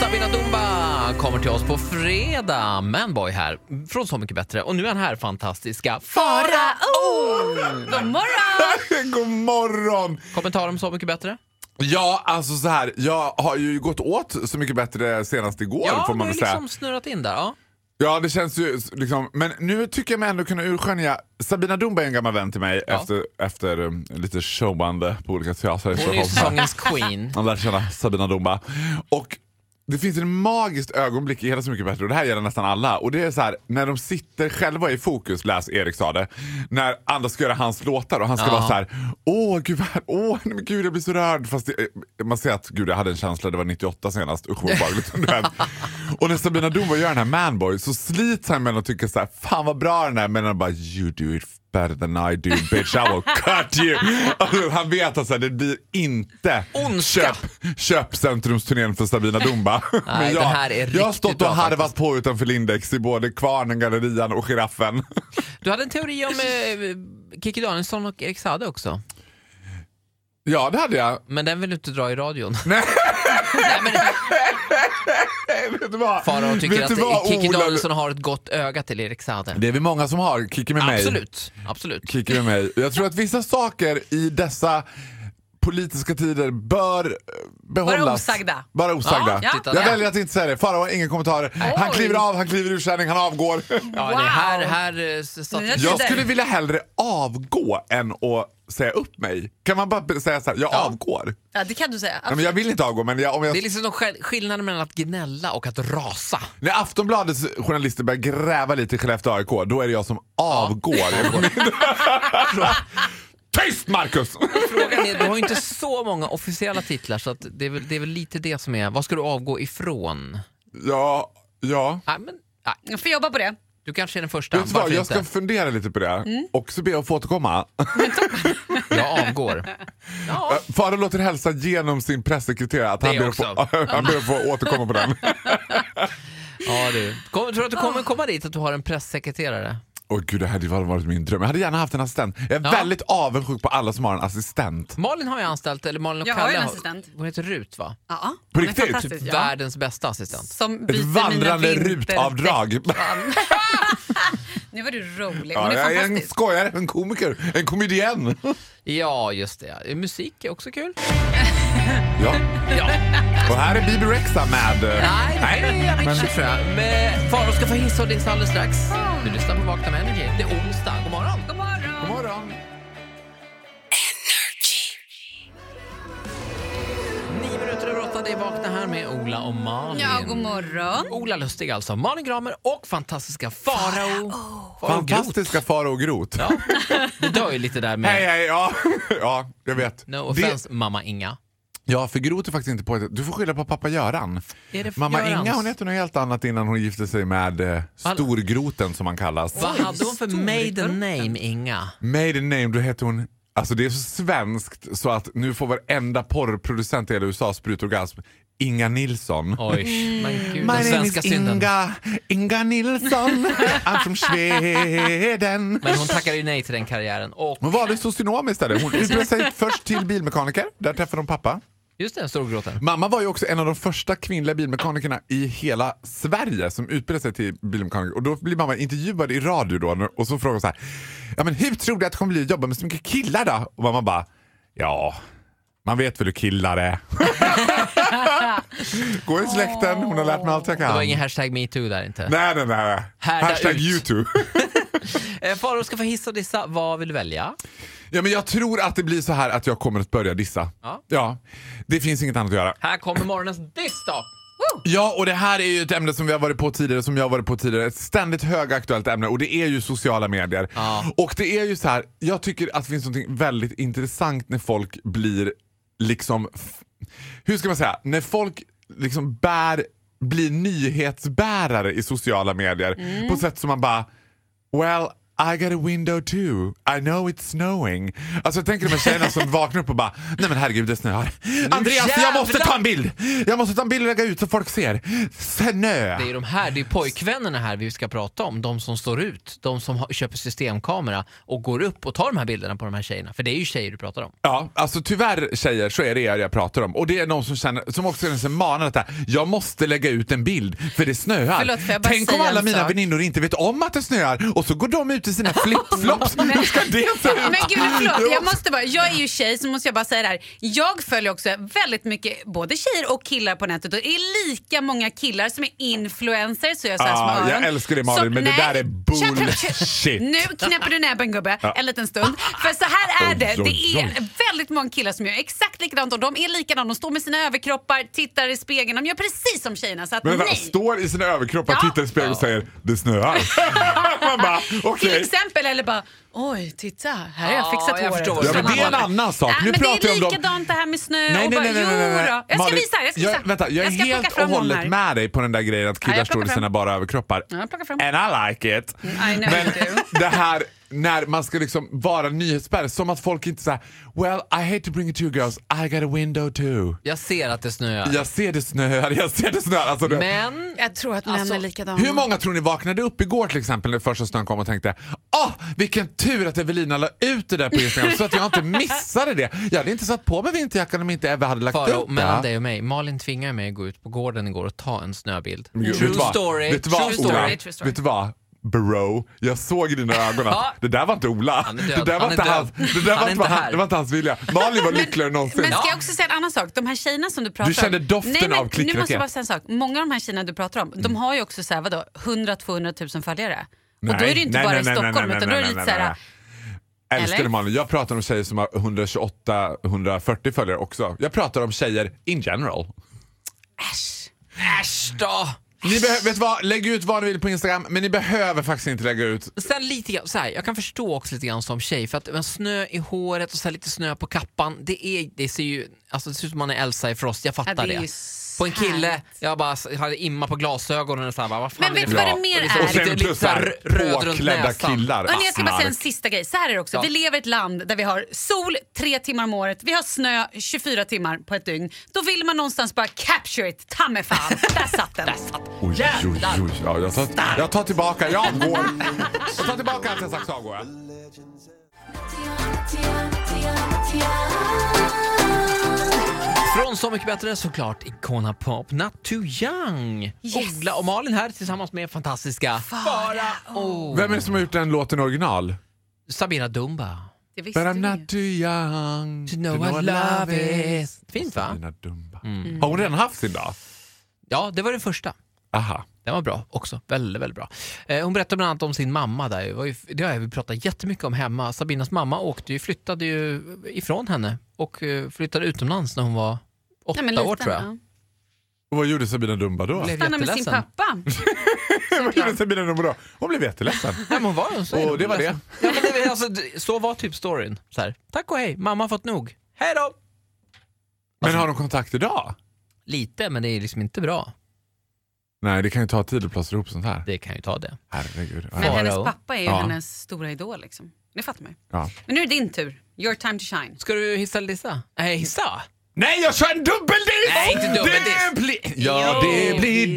Sabina Dumba kommer till oss på fredag. Manboy här från Så mycket bättre. Och nu är han här, fantastiska Farao! God morgon! God morgon! Kommentar om Så mycket bättre? Ja, alltså så här. Jag har ju gått åt Så mycket bättre senast igår ja, får man du väl har säga. liksom snurrat in där. Ja. Ja, det känns ju liksom. Men nu tycker jag mig ändå kunna urskönja. Sabina Dumba är en gammal vän till mig Ja. efter, efter um, lite showande på olika teatrar i Hon är ju Stockholm. sångens queen. Man lär känna Sabina Dumba. Och det finns en magiskt ögonblick i hela Så mycket bättre och det här gäller nästan alla. Och det är så här, när de sitter själva i fokus, läs Erik sa det, när andra ska göra hans låtar och han ska Ja. vara så här, åh gud, vad- åh nej, men gud jag blir så rörd. Fast det, eh, man ser att gud jag hade en känsla, det var 98 senast, usch vad obehagligt. om det här. och när Sabina Dumba gör den här manboy så slits han mellan att tycka så här, fan vad bra den är, men han bara you do it better than I do bitch, I will cut you. Alltså, han vet att så här, det blir inte Ondska. köp köpcentrumsturnén för Sabina Dumba. Nej, jag, det här är jag har riktigt stått bra och harvat faktiskt. på utanför Lindex i både Kvarnen, Gallerian och Giraffen. Du hade en teori om eh, Kikki Danielsson och Erik Saade också. ja, det hade jag. Men den vill du inte dra i radion. Nej, men Nej, vet du vad? Farao tycker Vet du att vad, Kikki Ola? Danielsson har ett gott öga till Erik Saade. Det är vi många som har, Kikki med mig. Absolut. Absolut. Kikki med mig. Jag tror att vissa saker i dessa politiska tider bör eh, behållas. Bara osagda. Bara osagda. Ja, titta Jag där. väljer att inte säga det. Farao har inga kommentarer. Han Oj. kliver av, han kliver ur sändning, han avgår. Ja, Wow. det här, här eh, satt Men jag Jag Tider. skulle vilja hellre avgå än att säga upp mig. Kan man bara be- säga så här, jag avgår? Ja, det kan du säga. Nej, men jag vill inte avgå, men jag, om Det är jag... liksom någon skill- skillnad mellan att gnälla och att rasa. När Aftonbladets journalister börjar gräva lite i Skellefteå AIK, då är det jag som avgår. Tyst Marcus! Frågan är, du har ju inte så många officiella titlar så att det, är väl, det är väl lite det som är, vad ska du avgå ifrån? ja, ja. Nej, men, nej, Jag får jobba på det. du kanske är den första, Vet du vad, varför jag ska inte? Mm. fundera lite på det och så ber jag att få återkomma. Jag avgår. Ja. Farao låter hälsa genom sin pressekreterare att han Det ber, att få, han ber att få återkomma på den. Ja, du. Kom, tror du att du Ah. kommer komma dit att du har en pressekreterare? Åh gud, det hade varit min dröm. Jag hade gärna haft en assistent. Jag är Ja. väldigt avundsjuk på alla som har en assistent. Malin har jag anställt, eller Malin och Jag har Kalle. en assistent. Hon heter Rut va? Ja, På men riktigt? fantastiskt, Ja. Världens bästa assistent. Som byter Ett mina vandrande vinterdäck. rutavdrag. Nu var du rolig. Hon Ja, är jag är en fantastisk. skojare, en komiker, en komedienn. Ja, just det. Musik är också kul. Ja. Ja. Och här är Bibi Rexa med... eh, Nej, det är Avicii tror jag. Men Farao ska få hissa och dissa alldeles strax. Ah. Du lyssnar på Vakna med Energy. Det är onsdag. God morgon. God morgon! God morgon. 9 minuter över 8, det är Vakna här med Ola och Malin. Ja, god morgon. Ola Lustig alltså, Malin Gramer och fantastiska Farao. Farao Groth. Fantastiska Farao Groth. Ja. Det dör ju lite där med Hej, hej, ja. ja, jag vet. No Det- offense, mamma Inga. ja, för Groth är faktiskt inte på Du får skylla på pappa Göran. Är det för Mamma Görans? Inga hon hette något helt annat innan hon gifte sig med eh, Vad- Storgroten som han kallas. Vad hade hon för stor maiden gruppen. name, Inga? Maiden name, då heter hon... Alltså det är så svenskt så att nu får varenda porrproducent i hela USA sprutorgasm. Inga Nilsson. Oj, men gud. My Den name svenska is synden. Inga, Inga Nilsson. I'm from Sweden. Men hon tackade ju nej till den karriären. Och Hon valde socionom istället. Hon utbildade sig först till bilmekaniker. Där träffade hon pappa. just det, storgråten. Mamma var ju också en av de första kvinnliga bilmekanikerna i hela Sverige som utbildade sig till bilmekaniker. Och då blir mamma intervjuad i radio då och så frågar hon så här. Ja men hur tror du att det kommer bli att jobba med så mycket killar då? Och mamma bara. Ja, man vet väl hur killar är. Gå i släkten, hon har lärt mig allt jag kan. Det var ingen hashtag metoo där inte. Nej, nej, nej. Härda Hashtag ut. YouTube. Eh, Farao ska få hissa och dissa. Vad vill du välja? ja, men jag tror att det blir så här att jag kommer att börja dissa. Ja. Det finns inget annat att göra. Här kommer morgonens diss då. Ja, och det här är ju ett ämne som vi har varit på tidigare, som jag har varit på tidigare. Ett ständigt högaktuellt ämne och det är ju sociala medier. Ja. Och det är ju så här, jag tycker att det finns något väldigt intressant när folk blir liksom, f- hur ska man säga, när folk liksom bär, blir nyhetsbärare i sociala medier på ett sätt som man bara, well I got a window too, I know it's snowing. Alltså jag tänker de här tjejerna som vaknar upp och bara, nej men herregud det snöar. Andreas jag måste ta en bild! Jag måste ta en bild och lägga ut så folk ser. Snö! Det är de här, det är pojkvännerna här vi ska prata om. De som står ut, de som har, köper systemkamera och går upp och tar de här bilderna på de här tjejerna. För det är ju tjejer du pratar om. Ja, alltså tyvärr tjejer så är det er jag pratar om. Och det är någon som, känner, som också känner sig manad att det här, jag måste lägga ut en bild för det snöar. Förlåt, får jag bara Tänk om säga alla en mina sak? väninnor inte vet om att det snöar och så går de ut i sina flipflops. Hur ska det se ut? Men gud, förlåt. Jag, måste bara, jag är ju tjej, så måste jag bara säga det här. Jag följer också väldigt mycket både tjejer och killar på nätet. Och det är lika många killar som är influencers. Så jag, så här Ah, små jag öron. älskar dig, Malin, men det där är bullshit. Nu knäpper du näven, gubbe. En liten stund. För så här är det. Oj, Det oj, är oj. väldigt många killar som gör exakt likadant och de är likadana. De står med sina överkroppar, tittar i spegeln. De gör precis som tjejerna. Så att, Men vänta, nej. står i sina överkroppar, Ja. tittar i spegeln och säger det snöar. Man bara okej. Till exempel, eller bara oj, titta, här har jag Ja, fixat jag håret. förstår. Ja, men det är en Sådana- annan sak. Nej, nu men pratar det är jag om dem. likadant det här med snö och bara, jo då. Jag ska Malin, visa, jag ska visa. Jag, vänta, jag är Jag ska plocka helt och fram dem hållet här. med dig på den där grejen att killar jag står i plockar sina fram. bara överkroppar. Ja, jag plockar fram. Mm, And I like it. I know Men you do. det här när man ska liksom vara nyhetsbärare, som att folk inte säger Well, I hate to bring it to you girls, I got a window too. Jag ser att det snöar. Jag ser det snöar, jag ser det snöar. Alltså, det- Men Jag tror att män Alltså, är likadana. Hur många tror ni vaknade upp igår till exempel när första snön kom och tänkte Åh, vilken tur att Evelina la ut det där på Instagram så att jag inte missade det. Jag hade inte satt på mig vinterjackan om inte Eva hade lagt Faro, upp det. mellan dig och mig, Malin tvingade mig att gå ut på gården igår och ta en snöbild. Men gud, True vet du vad? story. Vet du vad, True story. Ola? True story. Vet du vad? Bro, jag såg i dina ögon Ja. att det där var inte Ola. är död. Det där var Han är inte död. hans, det där Han var är inte inte han, här. det var inte hans vilja. Malin var lyckligare än någonsin. Men ska jag också säga en annan sak? De här tjejerna som du pratar om. Du kände doften Nej, men av Nu måste klickraket. jag bara säga en sak. Många av de här tjejerna du pratar om, de har ju också så här, vadå, 100-200 000 följare. och då är det ju inte bara i Stockholm utan då är det lite så här, nej. Älskade Eller? Malin, jag pratar om tjejer som har 128-140 följare också. Jag pratar om tjejer in general. äsch. Äsch då! Ni behö- vet vad, lägg ut vad ni vill på Instagram men ni behöver faktiskt inte lägga ut. Sen lite grann, så här, jag kan förstå också lite grann som tjej, för att men, snö i håret och så här, lite snö på kappan, det, är, det ser ju alltså, det ser ut som man är Elsa i Frost, jag fattar Ja, det det. är ju På en kille, härligt. jag bara s- hade imma på glasögonen och så här, bara, vad fan Men är vet det du för- vad det mer Och är? Och lite- sen lite plus så här såhär röd runt påklädda näsan. killar. Hörrni, jag ska bara säga en Asnar. sista grej. Så här är det också. Ja. Vi lever i ett land där vi har sol tre timmar om året, vi har snö 24 timmar på ett dygn. Då vill man någonstans bara capture it, ta mig fan. Där satt den. Oj, oj, oj, oj. Ja, jag, tar, jag tar tillbaka, jag avgår. Jag tar tillbaka allt jag sagt så avgår jag. Från Så mycket bättre såklart, Icona Pop, Not Too Young. Yes. Ola och Malin här tillsammans med fantastiska Fara. oh, Vem är det som har gjort den låten original? Sabina Dumba. Det But visste I'm du not ju. too young To know what love is. Fint, va? Mm. Sabina Dumba. Har hon redan haft sin dag? Ja, det var den första. Aha. Den var bra också. Väldigt, väldigt bra. Eh, hon berättade bland annat om sin mamma. där. Det, var ju, det har vi pratat jättemycket om hemma. Sabinas mamma åkte ju, flyttade ju ifrån henne och eh, flyttade utomlands när hon var åtta Nej, men år liten, tror jag. ja. Och vad gjorde Sabina Dumba då? Blev Stanna med sin jätteledsen. pappa. Vad gjorde Sabina Dumba då? Hon blev jätteledsen. Ja, men hon var, hon säger Och det var det. Ja, men det var- alltså, det- så var typ storyn. Så här, Tack och hej, mamma har fått nog. Hej då! Men har de kontakt idag? Lite, men det är liksom inte bra. Nej, det kan ju ta tid att plåstra ihop sånt här. Det kan ju ta det. Herregud. Men Faro. hennes pappa är ju Ja. hennes stora idol. Liksom. Det fattar man ju. Ja. Men nu är det din tur. Your time to shine. Ska du hissa eller dissa? Nej, hissa! Nej, jag kör en dubbeldiss! Nej, inte dubbeldiss. Det blir- Ja, det Jo, blir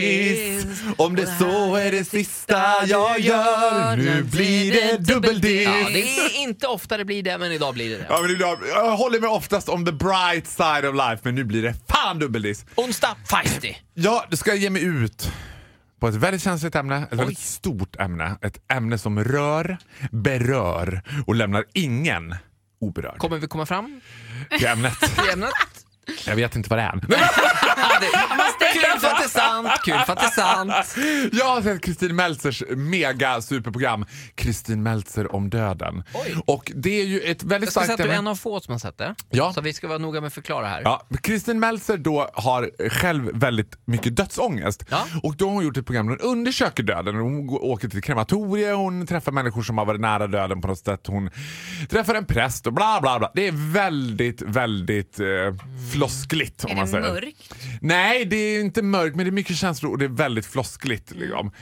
dubbeldiss. Om det så är det sista jag gör. Nu blir det dubbeldiss. Ja, det är inte ofta det blir det, men idag blir det det. Ja, men idag, jag håller mig oftast om the bright side of life, men nu blir det fan dubbeldiss. Onsdag, feisty! Ja, då ska jag ge mig ut på ett väldigt känsligt ämne, ett väldigt stort ämne. Ett ämne som rör, berör och lämnar ingen oberörd. Kommer vi komma fram till ämnet. till ämnet? Jag vet inte vad det är. Ja, det- Kul för att det är sant, kul för att det är sant. Jag har sett Kristin Meltzers mega superprogram Kristin Meltzer om döden. Oj. Och det är ju ett väldigt Jag ska säga starkt att du är en ämne. av få som har sett det. Ja. Så vi ska vara noga med att förklara här. Ja, Kristin Meltzer då har själv väldigt mycket dödsångest. Ja. Och då har hon gjort ett program där hon undersöker döden. Hon går- åker till krematorier, hon träffar människor som har varit nära döden på något sätt. Hon träffar en präst och bla bla bla. Det är väldigt, väldigt eh, floskligt om Är man det säger. mörkt? Nej, Nej, det är inte mörkt, men det är mycket känslor och det är väldigt floskligt. Liksom.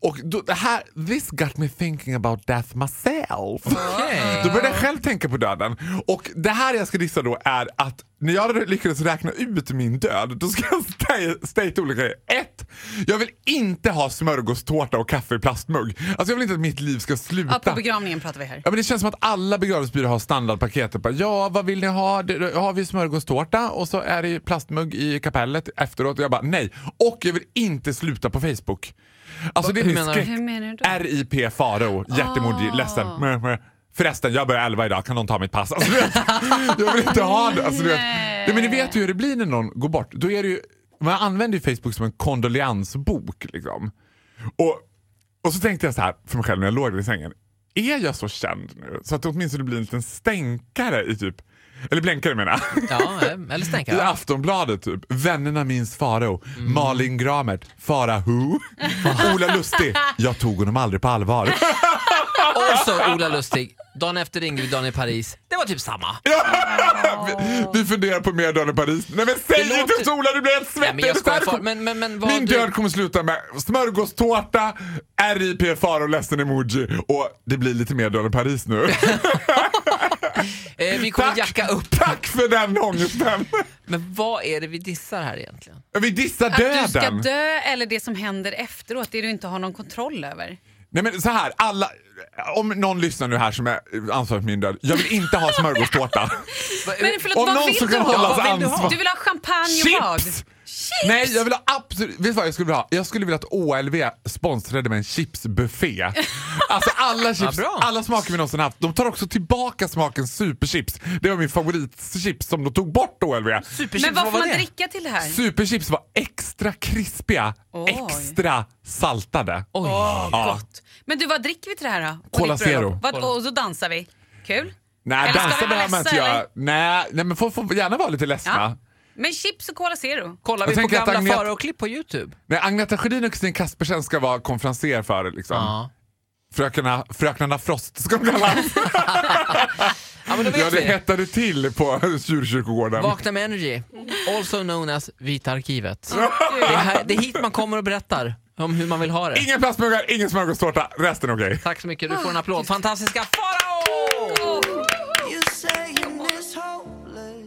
Och då, det här, this got me thinking about death myself. Okej. Då började jag själv tänka på döden. Och det här jag ska gissa då är att när jag lyckades räkna ut min död, då ska jag sta- state olika grejer. Ett, jag vill inte ha smörgåstårta och kaffe i plastmugg. Alltså jag vill inte att mitt liv ska Ja, sluta. på begravningen pratar vi här. Ja, men det känns som att alla begravningsbyråer har standardpaketet. Bara, Ja, vad vill ni ha? Det- Har vi smörgåstårta och så är det plastmugg i kapellet efteråt. Och jag bara nej. Och jag vill inte sluta på Facebook. Alltså det är hur min menar du? skräck. Hur menar du då? RIP Faro, hjärtemoji, ledsen. Meh, meh. Förresten, jag börjar elva idag. Kan någon ta mitt pass? Alltså, du vet, jag vill inte ha det. Alltså, du vet. Nej. Ja, men ni vet ju hur det blir när någon går bort. Då är det ju, man använder ju Facebook som en kondoleansbok. Liksom. Och, och så tänkte jag så här för mig själv när jag låg där i sängen. Är jag så känd nu så att det åtminstone blir en liten stänkare i typ, eller blänkare menar jag. Ja, eh, eller stänka. I Ja. Mm. Aftonbladet typ. Vännerna minns Farao. Malin Gramert. Farao. Ola Lustig. Jag tog honom aldrig på allvar. Och så Ola Lustig, dagen efter ringde vi dagen i Paris. Det var typ samma. vi, vi funderar på mer döden i Paris. Nej men Det säg inte låter- så Ola, du blir helt Nej, svettig. men jag Det skojar här kom- far- men, men, men vad Min du... död kommer sluta med smörgåstårta, RIP far och ledsen emoji och det blir lite mer döden i Paris nu. Eh, vi kommer jacka upp. Tack för den ångesten! Men vad är det vi dissar här egentligen? Vi dissar Att du ska döden! dö eller det som händer efteråt, det du inte har någon kontroll Äh, över. Nej men så här, alla, om någon lyssnar nu här som är ansvarig för min död, jag vill inte ha smörgåstårta. Men förlåt, Om vad någon vill som du kan ha? hållas Vad vill du ha? ansvar- Du vill ha champagne och vad? Chips! Nej, jag vill ha absolut... Vet du vad jag skulle vilja ha? Jag skulle vilja att OLV sponsrade med en chipsbuffé. Alltså alla chips, bra. alla smaker vi någonsin haft. De tar också tillbaka smaken superchips. Det var min favoritchips som de tog bort OLV. Superchips, Men vad får var man det? dricka till det här? Superchips var extra krispiga, Oj. extra saltade. Oj. Ja. Gott. Men du, vad dricker vi till det här då? På Cola ditt bröllop? Zero. Vad, och så dansar vi. Kul. Nej, Eller ska dansa vi vara behöver man inte ledsna, göra. eller? Nej, nej, men får, får gärna vara lite ledsna. Ja. Men chips och Cola Zero. Kollar Jag vi på tänker att gamla Agneta- Farao-klipp på Youtube? Nej, Agneta Sjödin och Kristin Kaspersen ska vara konferenser för det, liksom. Ja. Fröknarna, fröknarna Frost ska de kallas. Ja, men då Ja, vet det vi. hettade till på djurkyrkogården. Vakna med Energy, also known as Vita Arkivet. Det är, här, det är hit man kommer och berättar om hur man vill ha det. Inga plastmuggar, ingen smörgåstårta, resten okej. Tack så mycket, du får en applåd. Fantastiska Farao! You say you miss hopeless.